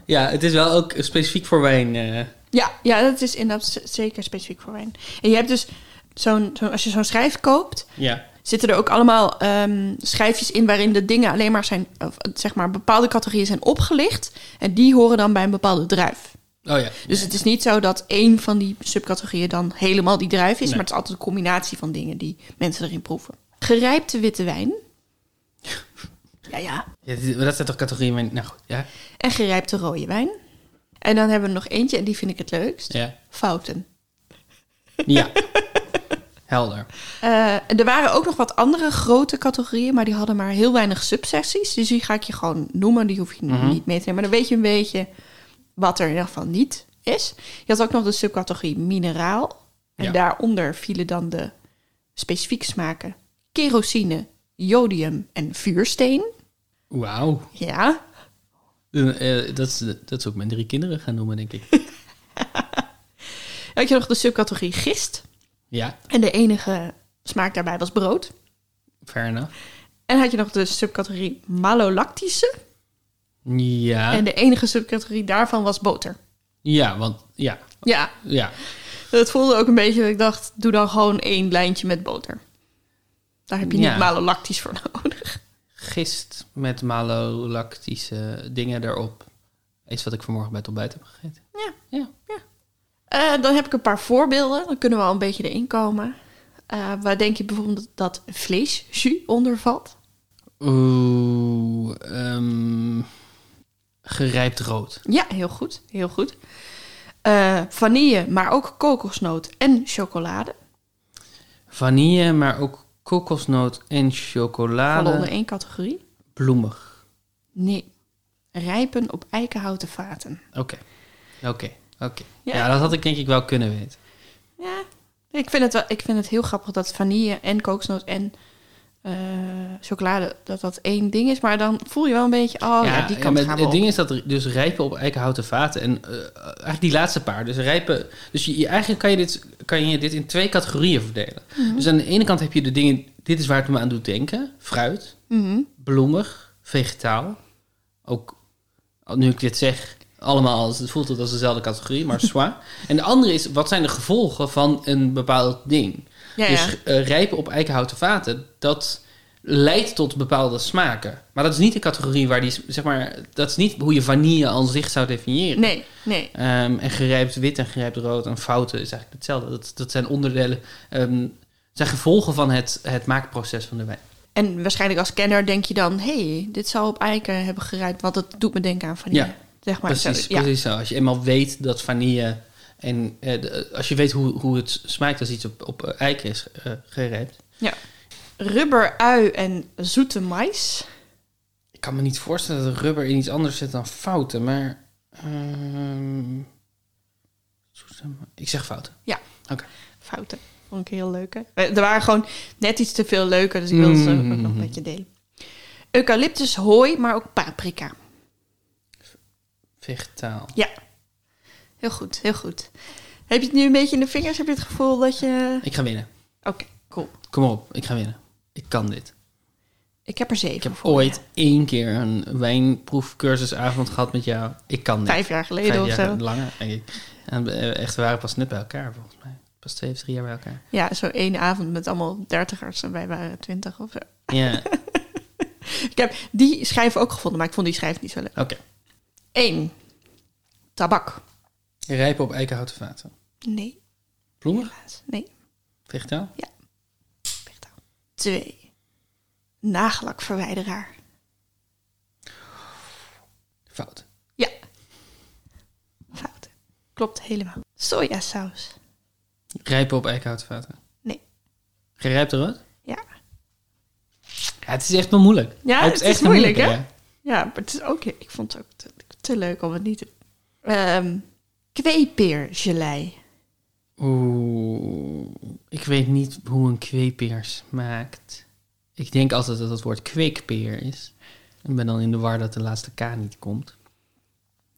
S1: Ja, het is wel ook specifiek voor wijn. eh.
S2: Ja, ja dat is inderdaad z- zeker specifiek voor wijn. En je hebt dus zo'n, zo'n- als je zo'n schijf koopt,
S1: ja.
S2: zitten er ook allemaal ehm, schijfjes in waarin de dingen alleen maar zijn, of, eh, zeg maar, bepaalde categorieën zijn opgelicht. En die horen dan bij een bepaalde druif.
S1: Oh ja.
S2: Dus het is niet zo dat één van die subcategorieën dan helemaal die druif is,
S1: Nee.
S2: maar het is altijd een
S1: *laughs*
S2: combinatie van dingen die mensen erin proeven. Gerijpte witte wijn. Ja, ja.
S1: Ja, dit- dat zijn toch categorieën... waar- Nou goed, ja.
S2: En gerijpte rode wijn. En dan hebben we nog eentje, en die vind ik het
S1: *laughs*
S2: leukst.
S1: Ja.
S2: Fouten.
S1: ja. Helder.
S2: Eh, er waren ook nog wat andere grote categorieën, maar die hadden maar heel weinig subsecties. Dus die ga ik je gewoon noemen, die hoef je niet mee te nemen. Maar dan weet je een beetje wat er in ieder geval niet is. Je had ook nog de subcategorie mineraal. En
S1: Ja.
S2: daaronder vielen dan de specifiek smaken kerosine, jodium en vuursteen.
S1: Wauw.
S2: Ja,
S1: Eh, eh, dat, is, dat is ook mijn drie kinderen gaan noemen, denk *laughs* ik.
S2: dan had je nog de subcategorie gist.
S1: Ja,
S2: En de enige smaak daarbij was brood.
S1: fair enough.
S2: En had je nog de subcategorie malolactische.
S1: Ja,
S2: En de enige subcategorie daarvan was boter.
S1: ja want ja,
S2: Ja,
S1: ja.
S2: Het voelde ook een beetje dat ik dacht, doe dan gewoon één lijntje met boter. Daar heb je
S1: Ja.
S2: niet malolactisch voor *laughs* nodig.
S1: Gist met malolactische dingen erop. Is wat ik vanmorgen bij het ontbijt heb gegeten.
S2: Ja.
S1: Ja.
S2: Eh, dan heb ik een paar voorbeelden, dan kunnen we al een beetje erin komen. Eh, waar denk je bijvoorbeeld dat vleesjus onder valt?
S1: Oeh, ehm, gerijpt rood.
S2: Ja, heel goed, heel goed. Eh, vanille, maar ook kokosnoot en chocolade.
S1: Vanille, maar ook kokosnoot en chocolade.
S2: Vallen onder één categorie.
S1: Bloemig.
S2: Nee, rijpen op eikenhouten vaten.
S1: Oké, oké, oké.
S2: Ja.
S1: Ja. dat had ik denk ik wel kunnen weten.
S2: Ja, ik vind het, wel, ik vind het heel grappig dat vanille en kokosnoot en eh, chocolade, dat dat één ding is. Maar dan voel je wel een beetje, oh ja, die kant
S1: maar
S2: gaan we
S1: Het
S2: op.
S1: ding is dat er dus rijpen op eikenhouten vaten. En eh, eigenlijk die laatste paar. Dus rijpen. Dus je, je- eigenlijk kan je, dit, kan je dit in twee categorieën verdelen.
S2: Mhm.
S1: Dus aan de ene kant heb je de dingen. Dit is waar het me aan doet denken: fruit,
S2: Mhm.
S1: bloemig, vegetaal. Ook nu ik dit zeg. Allemaal, als- het voelt het als dezelfde categorie, maar zwaar. En de andere is, wat zijn de gevolgen van een bepaald ding?
S2: Ja,
S1: dus
S2: ja.
S1: eh, rijpen op eikenhouten vaten, dat leidt tot bepaalde smaken. Maar dat is niet de categorie waar die, zeg maar, dat is niet hoe je vanille aan zich zou definiëren.
S2: Nee, nee.
S1: Ehm, en gerijpt wit en gerijpt rood en fouten is eigenlijk hetzelfde. Dat, dat zijn onderdelen, ehm, zijn gevolgen van het, het maakproces van de wijn.
S2: En waarschijnlijk als kenner denk je dan, hey, dit zou op eiken hebben gerijpt, want dat doet me denken aan vanille.
S1: Ja,
S2: zeg maar.
S1: precies,
S2: zo, ja.
S1: precies zo. Als je eenmaal weet dat vanille en eh, de- als je weet hoe, hoe het smaakt als iets op, op eh, eiken is eh, gerijpt.
S2: Ja. Rubber, ui en zoete mais.
S1: Ik kan me niet voorstellen dat rubber in iets anders zit dan fouten, maar. ehm, ik zeg fouten.
S2: Ja.
S1: Oké.
S2: Fouten. Vond ik heel leuk. hè? Er waren gewoon net iets te veel leuke, dus ik wilde ze
S1: Mm.
S2: ook nog met je delen. Eucalyptus, hooi, maar ook paprika.
S1: Vegetaal.
S2: Ja. Heel goed, heel goed. Heb je het nu een beetje in de vingers? Heb je het gevoel dat je...
S1: Ik ga winnen.
S2: Oké, cool.
S1: Kom op, ik ga winnen. Ik kan dit.
S2: Ik heb er zeven
S1: Ik heb
S2: voor
S1: ooit
S2: je.
S1: één keer een wijnproefcursusavond gehad met jou. Ik kan dit.
S2: Vijf jaar geleden
S1: Vijf
S2: of
S1: jaar
S2: zo.
S1: langer, denk ik. En eh, echt, we waren pas net bij elkaar, volgens mij. Pas twee of drie jaar bij elkaar.
S2: Ja, zo één avond met allemaal dertigers en wij waren twintig of zo.
S1: Ja,
S2: *laughs* Ik heb die schijf ook gevonden, maar ik vond die schijf niet zo leuk.
S1: oké.
S2: Eén. Tabak.
S1: Rijpen op eikenhouten vaten.
S2: Nee,
S1: Bloemen?
S2: helaas. Nee,
S1: Vegetaal?
S2: vegetaal. Twee. Nagellakverwijderaar.
S1: Fout.
S2: Ja. Fout. Klopt helemaal. Sojasaus.
S1: Rijpen op eikenhouten vaten.
S2: Nee.
S1: Gerijpte rood?
S2: Ja.
S1: Ja, het is echt wel moeilijk.
S2: Ja,
S1: het
S2: het
S1: echt
S2: is
S1: wel
S2: moeilijk,
S1: moeilijk,
S2: hè? Ja, maar het is ook... Ik vond het ook te, te leuk om het niet te... Ehm kweepeergelei.
S1: Oeh, ik weet niet hoe een kweekpeer smaakt. Ik denk altijd dat het woord kweekpeer is. Ik ben dan in de war dat de laatste K niet komt.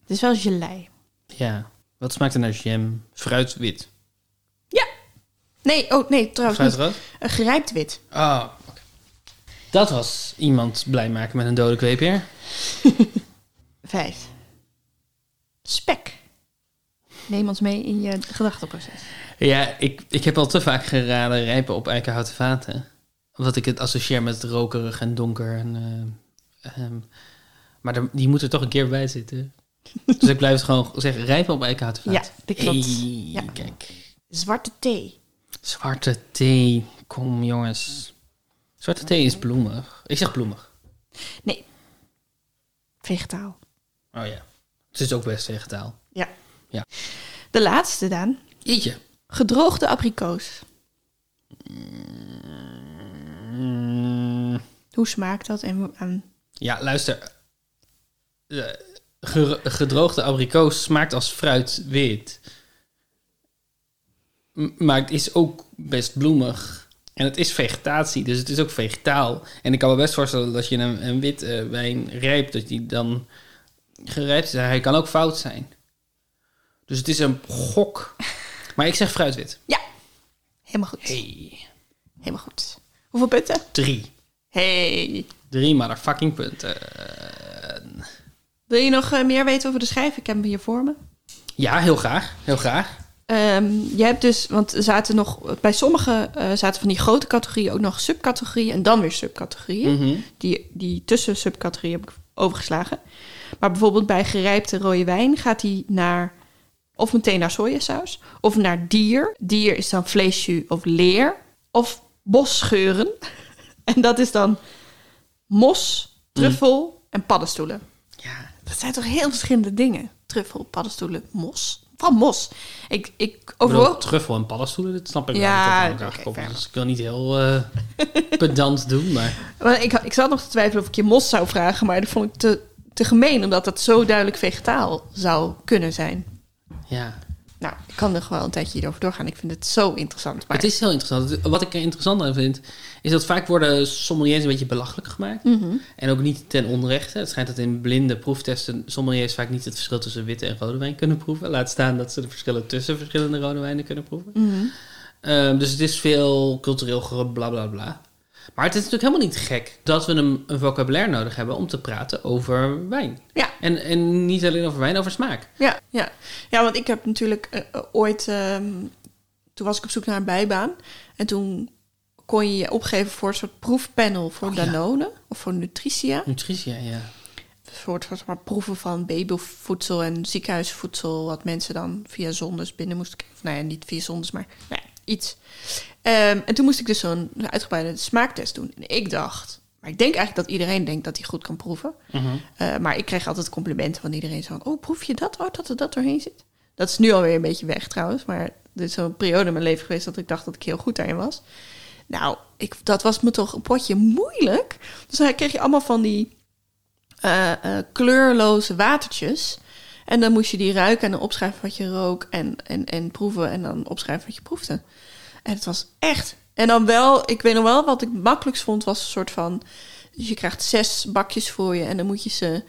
S2: Het is wel gelei.
S1: Ja, wat smaakt er naar jam? Fruitwit.
S2: Ja. Nee, oh nee, trouwens niet.
S1: Fruitrood?
S2: Een gerijpt wit.
S1: Oh, oké. Dat was iemand blij maken met een dode kweekpeer.
S2: Vijf. Spek. Neem ons mee in je gedachteproces.
S1: Ja, ik, ik heb al te vaak geraden rijpen op eikenhouten vaten. Omdat ik het associeer met rokerig en donker. En, eh, ehm, maar daar- die moet er toch een keer bij
S2: *laughs*
S1: zitten. dus ik blijf het gewoon zeggen, rijpen op eikenhouten
S2: Ja,
S1: vaten.
S2: dat klopt.
S1: Hey,
S2: Ja.
S1: Kijk,
S2: Zwarte thee.
S1: zwarte thee. Kom jongens. Zwarte thee is bloemig. Ik zeg bloemig.
S2: Nee, Vegetaal.
S1: Oh ja. Het is ook best vegetaal.
S2: Ja.
S1: Ja.
S2: De laatste, Daan.
S1: Jeetje.
S2: Gedroogde abrikoos.
S1: Mm.
S2: Hoe smaakt dat? En, hoe- aan-
S1: Ja, luister. Eh, ge- gedroogde abrikoos smaakt als fruit wit. M- Maar het is ook best bloemig. En het is vegetatie, dus het is ook vegetaal. En ik kan me best voorstellen dat als je een, een wit eh, wijn rijpt, dat die dan gerijpt is. Hij kan ook fout zijn. Dus het is een gok. Maar ik zeg fruitwit.
S2: Ja, helemaal goed.
S1: Hey,
S2: Helemaal goed. Hoeveel punten?
S1: drie.
S2: Hey.
S1: Drie motherfucking punten.
S2: Wil je nog eh, meer weten over de schijf? Ik heb hem hier voor me.
S1: Ja, heel graag. Heel graag.
S2: Ehm, je hebt dus, want er zaten nog, bij sommige eh, zaten van die grote categorieën ook nog subcategorieën en dan weer subcategorieën.
S1: Mhm.
S2: Die, die tussen subcategorieën heb ik overgeslagen. Maar bijvoorbeeld bij gerijpte rode wijn gaat die naar, of meteen naar sojasaus, of naar dier. Dier is dan vleesjus of leer, of bosgeuren. *laughs* en dat is dan mos, truffel en paddenstoelen.
S1: Ja,
S2: Dat zijn toch heel verschillende dingen? Truffel, paddenstoelen, mos. Van mos. Ik, ik
S1: Ik bedoel,
S2: overwoog
S1: truffel en paddenstoelen, dat snap ik
S2: Ja,
S1: wel. dat
S2: oké,
S1: dat aan elkaar koppelt.
S2: fair.
S1: dus ik wil niet heel eh,
S2: *laughs*
S1: pedant doen, maar...
S2: Maar ik, ik zat nog te twijfelen of ik je mos zou vragen, maar dat vond ik te, te gemeen, omdat dat zo duidelijk vegetaal zou kunnen zijn.
S1: Ja.
S2: Nou, ik kan nog wel een tijdje hierover doorgaan. Ik vind het zo interessant. Maar
S1: Het is heel interessant. Wat ik er interessant aan vind, is dat vaak worden sommeliers een beetje belachelijk gemaakt.
S2: Mhm.
S1: En ook niet ten onrechte. Het schijnt dat in blinde proeftesten sommeliers vaak niet het verschil tussen witte en rode wijn kunnen proeven. Laat staan dat ze de verschillen tussen verschillende rode wijnen kunnen proeven.
S2: Mhm.
S1: Ehm, dus het is veel cultureel blablabla. Bla, bla. Maar het is natuurlijk helemaal niet gek dat we een, een vocabulaire nodig hebben om te praten over wijn.
S2: Ja.
S1: En, en niet alleen over wijn, over smaak.
S2: Ja, ja. ja, want ik heb natuurlijk eh, eh, ooit... ehm, toen was ik op zoek naar een bijbaan. En toen kon je je opgeven voor een soort proefpanel voor
S1: Oh, ja.
S2: Danone of voor Nutritia.
S1: Nutritie, ja.
S2: soort van zeg maar, proeven van babyvoedsel en ziekenhuisvoedsel. Wat mensen dan via zondes binnen moesten krijgen. Of, Nou ja, niet via zondes, maar nou ja, iets. Ehm, en toen moest ik dus zo'n uitgebreide smaaktest doen. En ik dacht, maar ik denk eigenlijk dat iedereen denkt dat hij goed kan proeven.
S1: Mhm.
S2: Eh, maar ik kreeg altijd complimenten van iedereen. Zo van, oh, proef je dat? Oh, dat er dat doorheen zit. Dat is nu alweer een beetje weg trouwens. Maar er is zo'n periode in mijn leven geweest dat ik dacht dat ik heel goed daarin was. Nou, ik, dat was me toch een potje moeilijk. Dus dan kreeg je allemaal van die eh, eh, kleurloze watertjes. En dan moest je die ruiken en dan opschrijven wat je rook en, en, en proeven en dan opschrijven wat je proefde. En het was echt. En dan wel, ik weet nog wel, wat ik het makkelijkst vond was een soort van. Dus je krijgt zes bakjes voor je en dan moet je ze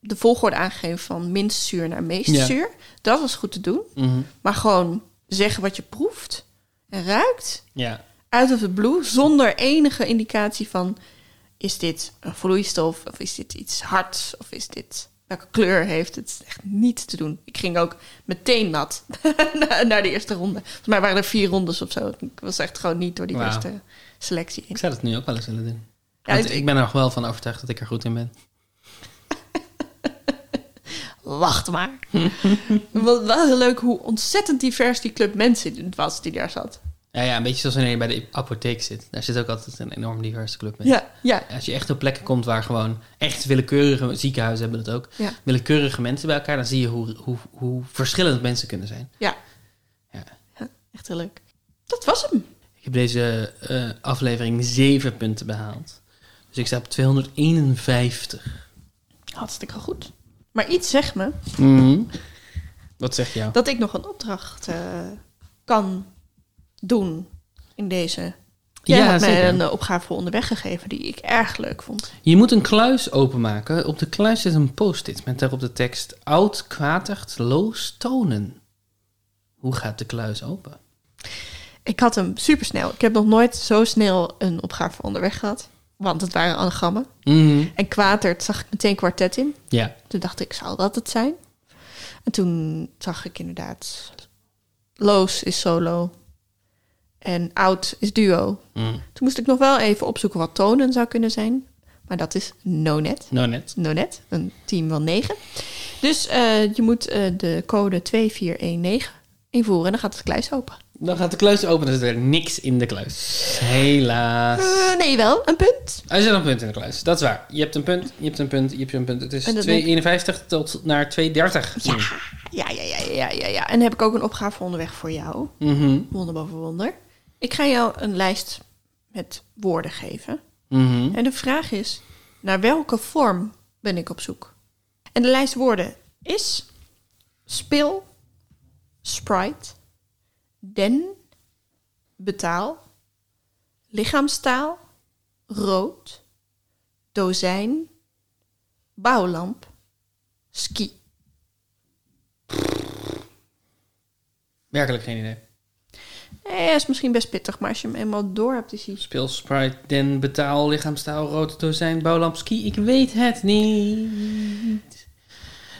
S2: de volgorde aangeven van minst zuur naar meest
S1: Ja.
S2: zuur. Dat was goed te doen.
S1: Mhm.
S2: Maar gewoon zeggen wat je proeft en ruikt
S1: Ja.
S2: uit of the blue, zonder enige indicatie van is dit een vloeistof of is dit iets hards of is dit welke kleur heeft het Het is echt niet te doen. Ik ging ook meteen nat *laughs* na- naar de eerste ronde. Volgens mij waren er vier rondes of zo. Ik was echt gewoon niet door die
S1: Wauw.
S2: eerste selectie
S1: Ik
S2: heen.
S1: zou dat nu ook wel eens willen doen.
S2: Ja,
S1: Want
S2: het-
S1: ik ben er nog wel van overtuigd dat ik er goed in ben.
S2: Wacht maar. *laughs* Wel wel heel leuk hoe ontzettend divers die club mensen was die daar zat.
S1: Ja, ja, een beetje zoals wanneer je bij de apotheek zit. Daar zit ook altijd een enorm diverse club mee.
S2: Ja, ja,
S1: Als je echt op plekken komt waar gewoon echt willekeurige ziekenhuizen hebben dat ook.
S2: Ja.
S1: Willekeurige mensen bij elkaar, dan zie je hoe, hoe, hoe verschillend mensen kunnen zijn.
S2: ja.
S1: Ja.
S2: Echt heel leuk. Dat was hem.
S1: Ik heb deze eh, aflevering 7 punten behaald. Dus ik sta op 251.
S2: Hartstikke goed. Maar iets zegt me Mhm.
S1: Wat zeg jou?
S2: dat ik nog een opdracht eh, kan doen in deze. Jij
S1: Ja,
S2: had mij
S1: zeker.
S2: een eh, opgave voor onderweg gegeven die ik erg leuk vond.
S1: Je moet een kluis openmaken. Op de kluis zit een post-it met daarop de tekst... Oud, kwatergt, loos, tonen. Hoe gaat de kluis open?
S2: Ik had hem supersnel. Ik heb nog nooit zo snel een opgave voor onderweg gehad. Want het waren anagrammen. En kwatert zag ik meteen kwartet in.
S1: Ja.
S2: Toen dacht ik, zal dat het zijn? En toen zag ik inderdaad... Loos is solo. En oud is duo.
S1: Mm.
S2: Toen moest ik nog wel even opzoeken wat tonen zou kunnen zijn. Maar dat is no-net.
S1: Nou net.
S2: Nonet, een team van 9. Dus eh, je moet eh, de code 2419 invoeren en dan gaat het kluis open.
S1: Dan gaat de kluis open en zit er niks in de kluis. Helaas.
S2: Eh, nee, wel. Een punt.
S1: Er zit een punt in de kluis, dat is waar. Je hebt een punt, je hebt een punt, je hebt een punt. Het is
S2: En dat
S1: 2,51 tot naar 2,30.
S2: Ja. Ja, ja, ja, ja, ja, ja. En dan heb ik ook een opgave voor onderweg voor jou.
S1: Mhm,
S2: Wonder boven wonder. Ik ga jou een lijst met woorden geven.
S1: mhm.
S2: En de vraag is, naar welke vorm ben ik op zoek? En de lijst woorden is spil, sprite, den, betaal, lichaamstaal, rood, dozijn, bouwlamp, ski.
S1: Werkelijk geen idee.
S2: Eh, is misschien best pittig, maar als je hem eenmaal door hebt, is hij...
S1: Speel Sprite, Den, Betaal, Lichaamstaal, Rood Dozijn, Bouwlamp, Ski. Ik weet het niet.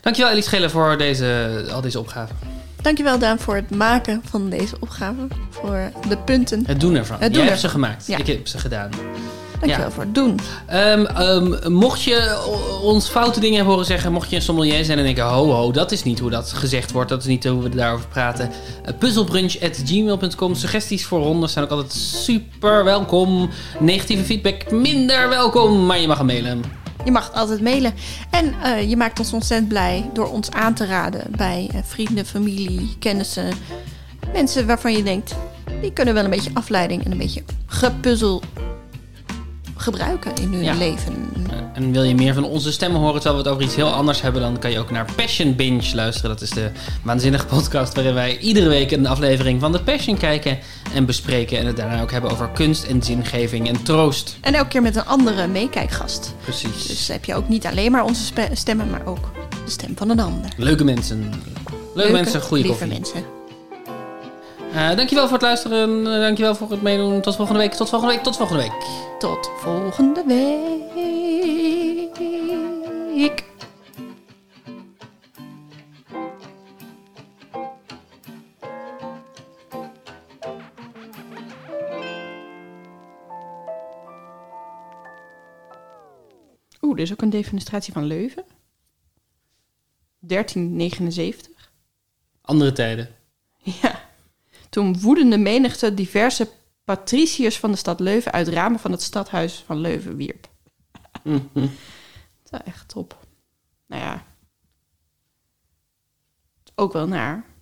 S1: Dankjewel Elise Schelen voor deze, al deze opgaven.
S2: Dankjewel Daan voor het maken van deze opgave, voor de punten.
S1: Het doen ervan.
S2: Het doen
S1: Jij hebt ze
S2: ervan.
S1: gemaakt.
S2: Ja.
S1: Ik heb ze gedaan.
S2: Dankjewel
S1: Ja.
S2: voor het doen.
S1: Ehm, ehm, mocht je o- ons foute dingen hebben horen zeggen, mocht je een sommelier zijn en denken: ho, ho, dat is niet hoe dat gezegd wordt, dat is niet hoe we daarover praten. Eh, Puzzlebrunch.gmail.com. Suggesties voor rondes zijn ook altijd super welkom. Negatieve feedback minder welkom, maar je mag hem mailen.
S2: Je mag altijd mailen. En eh, je maakt ons ontzettend blij door ons aan te raden bij eh, vrienden, familie, kennissen. Mensen waarvan je denkt, die kunnen wel een beetje afleiding en een beetje gepuzzel gebruiken in hun
S1: Ja.
S2: leven.
S1: Eh, En wil je meer van onze stemmen horen terwijl we het over iets heel anders hebben, dan kan je ook naar Passion Binge luisteren. Dat is de waanzinnige podcast waarin wij iedere week een aflevering van The Passion kijken en bespreken. En het daarna ook hebben over kunst en zingeving en troost.
S2: En elke keer met een andere meekijkgast.
S1: Precies.
S2: Dus heb je ook niet alleen maar onze spe- stemmen, maar ook de stem van een ander.
S1: Leuke mensen. Leuke, mensen, goede
S2: lieve
S1: koffie.
S2: mensen.
S1: Eh, dankjewel voor het luisteren. Eh, Dankjewel voor het meedoen. Tot volgende week. Tot volgende week. Tot volgende week.
S2: Tot volgende week. Oeh, er is ook een defenestratie van Leuven. 1379.
S1: Andere tijden.
S2: Ja. Toen woedende menigte diverse patriciërs van de stad Leuven uit ramen van het stadhuis van Leuven wierp.
S1: Mhm.
S2: *laughs* Dat is wel echt top. Nou ja. Ook wel naar.